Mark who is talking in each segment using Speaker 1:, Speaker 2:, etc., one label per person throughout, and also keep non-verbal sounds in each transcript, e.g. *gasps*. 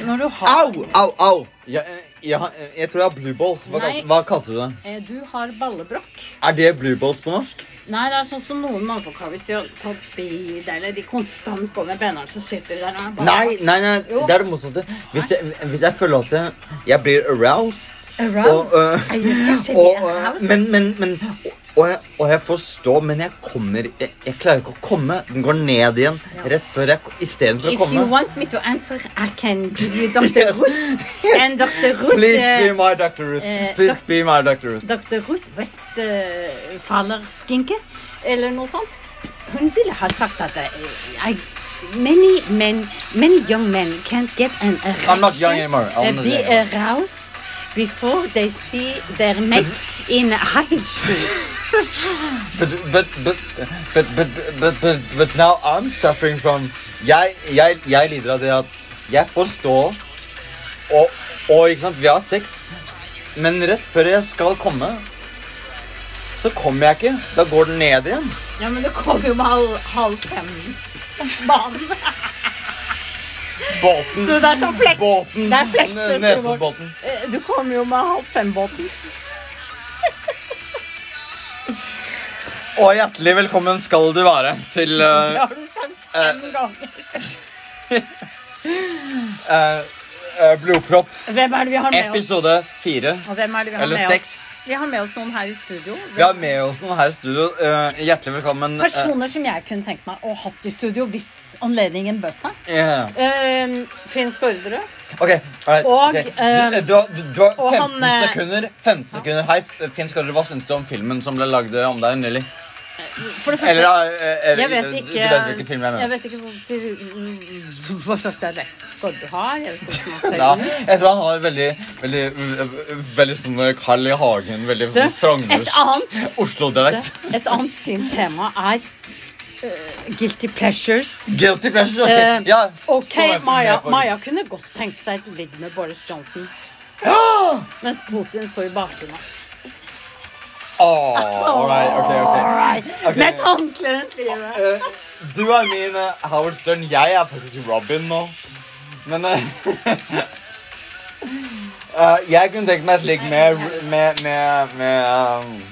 Speaker 1: når du har
Speaker 2: Au, au, au! Jeg, jeg, har- eh, jeg tror jeg har blue balls. Hva,
Speaker 1: Nei.
Speaker 2: kal- hva kalte du det?
Speaker 1: eh, Du har ballebrokk.
Speaker 2: Er det blue balls på norsk?
Speaker 1: Nei, det er sånn som noen mannfolk har hvis de har tatt speed, eller de konstant går med benneren, så sitter de der og er bare
Speaker 2: Nei, nei, nei,
Speaker 1: Jo.
Speaker 2: det er det motsatte. Hvis jeg, hvis jeg føler at jeg, jeg blir aroused,
Speaker 1: Aroused?
Speaker 2: Og, øh,
Speaker 1: Er you sexually
Speaker 2: og, øh,
Speaker 1: aroused?
Speaker 2: men, men, men og, jeg, og jeg forstår, men jeg kommer jeg, jeg klarer ikke å komme. Den går ned igjen rett før jeg Istedenfor å
Speaker 1: If you
Speaker 2: komme.
Speaker 1: want me to answer, I can give you
Speaker 2: *laughs*
Speaker 1: Dr. Ruth. And Dr. Ruth
Speaker 2: Please
Speaker 1: eh,
Speaker 2: be my Dr. Ruth.
Speaker 1: eh,
Speaker 2: Please be my Dr. Ruth.
Speaker 1: Dr. Ruth Westfaller-skinke, eller noe sånt. Hun ville ha sagt at eh, I, many men, many young men can't get an erection.
Speaker 2: I'm not young anymore. I'm
Speaker 1: eh,
Speaker 2: not
Speaker 1: be
Speaker 2: young anymore.
Speaker 1: aroused before they see their mate in high shoes.
Speaker 2: But, but, but, but, but, but, but, but now I'm suffering from jeg, jeg, jeg lider av det at jeg får stå og, og ikke sant, vi har sex, men rett før jeg skal komme, så kommer jeg ikke. Da går den ned igjen.
Speaker 1: Ja, men det kommer jo med halv, halv fem. Banen.
Speaker 2: Båten.
Speaker 1: Du, det er sånn flex.
Speaker 2: Båten.
Speaker 1: Det er flex.
Speaker 2: Ne-
Speaker 1: det sier Bård.
Speaker 2: Nesodbåten.
Speaker 1: Eh, Du kommer jo med halv fem-båten.
Speaker 2: Og hjertelig velkommen skal du være
Speaker 1: *laughs*
Speaker 2: til
Speaker 1: Det
Speaker 2: eh,
Speaker 1: har du sagt fem ganger.
Speaker 2: eh, eh, Blodpropp
Speaker 1: Hvem er det vi har med oss?
Speaker 2: episode fire.
Speaker 1: Og hvem er det vi har
Speaker 2: Eller
Speaker 1: med
Speaker 2: seks.
Speaker 1: oss? Vi har med oss noen her i studio.
Speaker 2: Vi har med oss noen her i studio. Eh, hjertelig velkommen. eh,
Speaker 1: Personer som jeg kunne tenkt meg å hatt i studio hvis anledningen bød seg.
Speaker 2: eh, ja.
Speaker 1: Ehm, Finn Skårderud.
Speaker 2: Ok, alright,
Speaker 1: Og,
Speaker 2: ok.
Speaker 1: eh,
Speaker 2: du, du, har- du, du har
Speaker 1: og
Speaker 2: 15
Speaker 1: han, eh,
Speaker 2: sekunder. 15 sekunder. Hei, Finn Skarre, hva syns du om filmen som ble lagd eh, om deg nylig?
Speaker 1: For det
Speaker 2: Eller,
Speaker 1: første,
Speaker 2: eh, eller
Speaker 1: jeg vet
Speaker 2: du- Du,
Speaker 1: ikke
Speaker 2: du vet hvilken film jeg
Speaker 1: Jeg
Speaker 2: mener.
Speaker 1: vet ikke hvor- hva slags dialekt Skårderud har. Jeg vet ikke hvordan
Speaker 2: Ja,
Speaker 1: han ser ut.
Speaker 2: jeg tror han har veldig Veldig, veldig sånn eh, Carl I. Hagen, veldig
Speaker 1: Du, et
Speaker 2: frognursk
Speaker 1: annet-
Speaker 2: Oslo-dialekt.
Speaker 1: Et annet fint tema er eh, guilty pleasures.
Speaker 2: Guilty pleasure. ok.
Speaker 1: Eh,
Speaker 2: ja,
Speaker 1: Ok,
Speaker 2: så er vi
Speaker 1: Maja,
Speaker 2: med på-
Speaker 1: Maja kunne godt tenkt seg et ligg med Boris
Speaker 2: *gasps*
Speaker 1: Johnson. Mens Putin står i bakgrunnen.
Speaker 2: Åh, all right, ok, ok.
Speaker 1: Alright.
Speaker 2: Ok.
Speaker 1: Med et håndkle rundt livet.
Speaker 2: Eh, Du er min eh, Howard Stern. Jeg er faktisk Robin nå. Men *laughs* eh, eh, Jeg kunne tenkt meg et ligg med med, med, med um,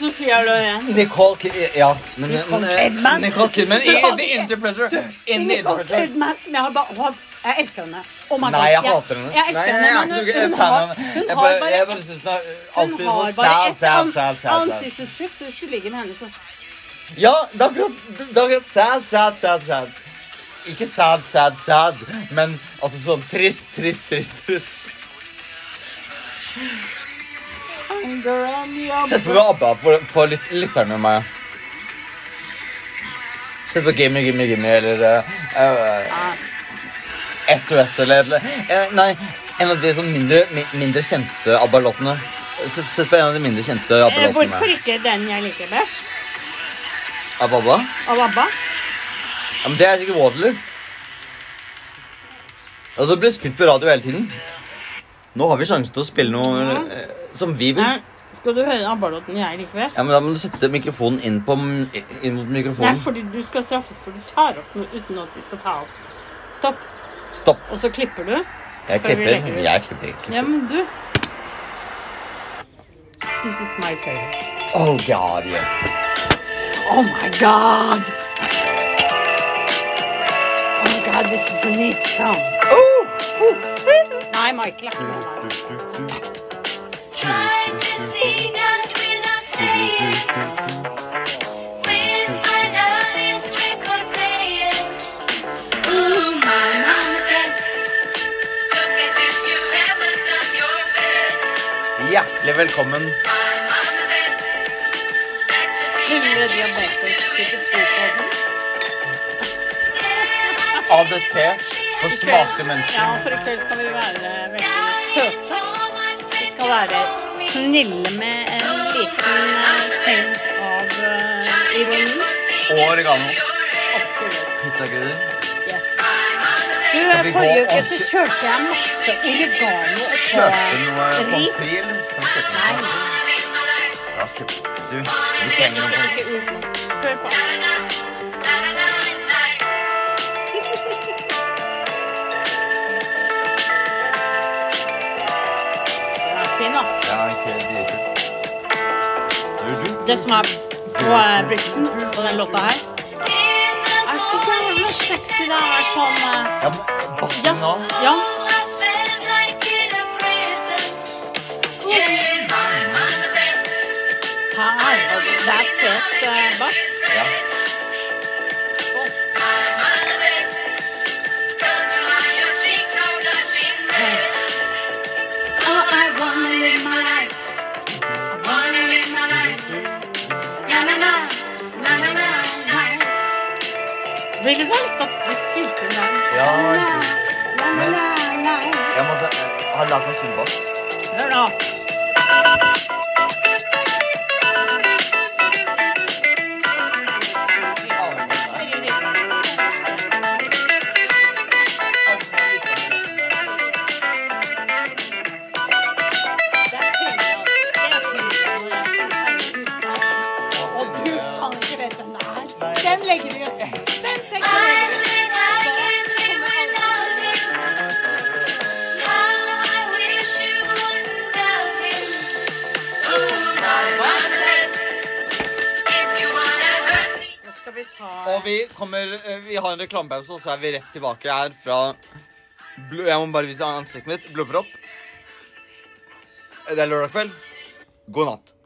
Speaker 1: Sofia Loren.
Speaker 2: Nicole Ki- Ja. Men,
Speaker 1: Nicole
Speaker 2: men, eh,
Speaker 1: Kidman.
Speaker 2: Nicole Kidman.
Speaker 1: Du har
Speaker 2: I The
Speaker 1: ikke-
Speaker 2: Interpreter. In The
Speaker 1: Nicole
Speaker 2: Interpreter.
Speaker 1: Kidman, som jeg har bare hun har- Jeg elsker henne. Oh my God,
Speaker 2: Nei, jeg hater henne.
Speaker 1: Jeg elsker
Speaker 2: Nei,
Speaker 1: henne,
Speaker 2: jeg er
Speaker 1: men
Speaker 2: ikke
Speaker 1: hun, hun,
Speaker 2: noe fan
Speaker 1: har,
Speaker 2: av henne.
Speaker 1: hun
Speaker 2: Jeg
Speaker 1: har
Speaker 2: bare- Jeg
Speaker 1: bare
Speaker 2: bare syns hun er
Speaker 1: hun
Speaker 2: alltid
Speaker 1: har
Speaker 2: så
Speaker 1: bare
Speaker 2: sad,
Speaker 1: ett
Speaker 2: sad,
Speaker 1: an-
Speaker 2: sad, sad. sad.
Speaker 1: ansiktsuttrykk, så hvis du ligger med henne, så
Speaker 2: Ja, det er akkurat det er akkurat sad, sad, sad, sad. Ikke sad, sad, sad, men altså sånn trist, trist, trist. trist. Sett på med ABBA for, for lyt, lytterne og meg. Sett på Gimme, Gimme, Gimme eller eh, eh, SOS eller, eller eh, Nei, en av de sånn mindre, mi, mindre kjente ABBA-låtene. S- Sett på en av de mindre kjente
Speaker 1: Eh, Hvorfor
Speaker 2: ABBA-låtene.
Speaker 1: ikke den jeg liker best?
Speaker 2: Av ABBA?
Speaker 1: Av ABBA?
Speaker 2: Ja, men det er sikkert Waterloo. Ja, det blir spilt på radio hele tiden. Nå har vi sjansen til å spille noe eh, som vi vil.
Speaker 1: Nei, Skal du høre ABBA-låten jeg liker best?
Speaker 2: Ja, men Da må du sette mikrofonen inn, på, inn mot
Speaker 1: Nei,
Speaker 2: mikrofonen.
Speaker 1: fordi du skal straffes, for du tar opp noe uten at vi skal ta opp. Stopp.
Speaker 2: Stopp.
Speaker 1: Og så klipper du.
Speaker 2: Jeg
Speaker 1: Før vi
Speaker 2: klipper.
Speaker 1: legger ut.
Speaker 2: Jeg klipper ikke.
Speaker 1: Ja, men du This is my favorite.
Speaker 2: Oh god, yes.
Speaker 1: Oh my god! Oh my god, this is a neat song. Nei, Michael er ikke med her.
Speaker 3: Trying to sneak out without saying. With my loudest record playing. Ooh, my mama said, Look at this, you haven't done your bed.
Speaker 2: Hjertelig velkommen.
Speaker 3: My mama said, That's a thing that
Speaker 1: Hundre
Speaker 3: you should
Speaker 1: diabetes
Speaker 3: do
Speaker 1: type
Speaker 3: instead.
Speaker 1: 2-koden.
Speaker 2: ADT for smarte
Speaker 1: Ja,
Speaker 2: mennesker.
Speaker 1: for i kveld skal vi være veldig søte.
Speaker 3: That's all my
Speaker 1: Vi
Speaker 3: friend
Speaker 1: skal være
Speaker 3: told me.
Speaker 1: snille med en liten eh, senk av eh,
Speaker 3: Trying to
Speaker 1: ironi.
Speaker 3: put things
Speaker 2: Og oregano.
Speaker 3: in your head.
Speaker 2: Pizzakrydder.
Speaker 1: Yes.
Speaker 3: My mama
Speaker 1: Du, eh,
Speaker 3: said,
Speaker 2: vi gå
Speaker 1: forrige uke
Speaker 2: og-
Speaker 1: så kjørte jeg masse oregano
Speaker 2: Kjøpte du noe
Speaker 1: og
Speaker 2: pommes
Speaker 1: ris.
Speaker 2: frites? Skal vi kjøpe noe?
Speaker 1: Nei.
Speaker 3: Live my life.
Speaker 2: Ja, kjøpte du. Du trenger noe pommes frites.
Speaker 3: La-la-la-la-la.
Speaker 1: kvinner.
Speaker 2: Ja, ok, dritkult. Hører du?
Speaker 1: Det som er på eh, bridgen på den låta her, er så jævla sexy. Det er sånn eh,
Speaker 2: Ja, men bassen
Speaker 1: jazz.
Speaker 2: av.
Speaker 1: Ja. Her. Det er fet eh, bass.
Speaker 2: Ja.
Speaker 1: Ville du helst at vi spilte den der?
Speaker 2: Ja, kult. jeg måtte, jeg har lagt meg fullbass.
Speaker 1: Hør nå.
Speaker 4: Den legger vi ut. Den tenker vi ut.
Speaker 3: If you wanna hurt me
Speaker 1: Skal vi ta
Speaker 2: Og vi kommer, eh, vi har en reklamepause, og så er vi rett tilbake her fra blod, Jeg må bare vise Eh, ansiktet mitt. Blodpropp. Det er lørdag kveld. God natt.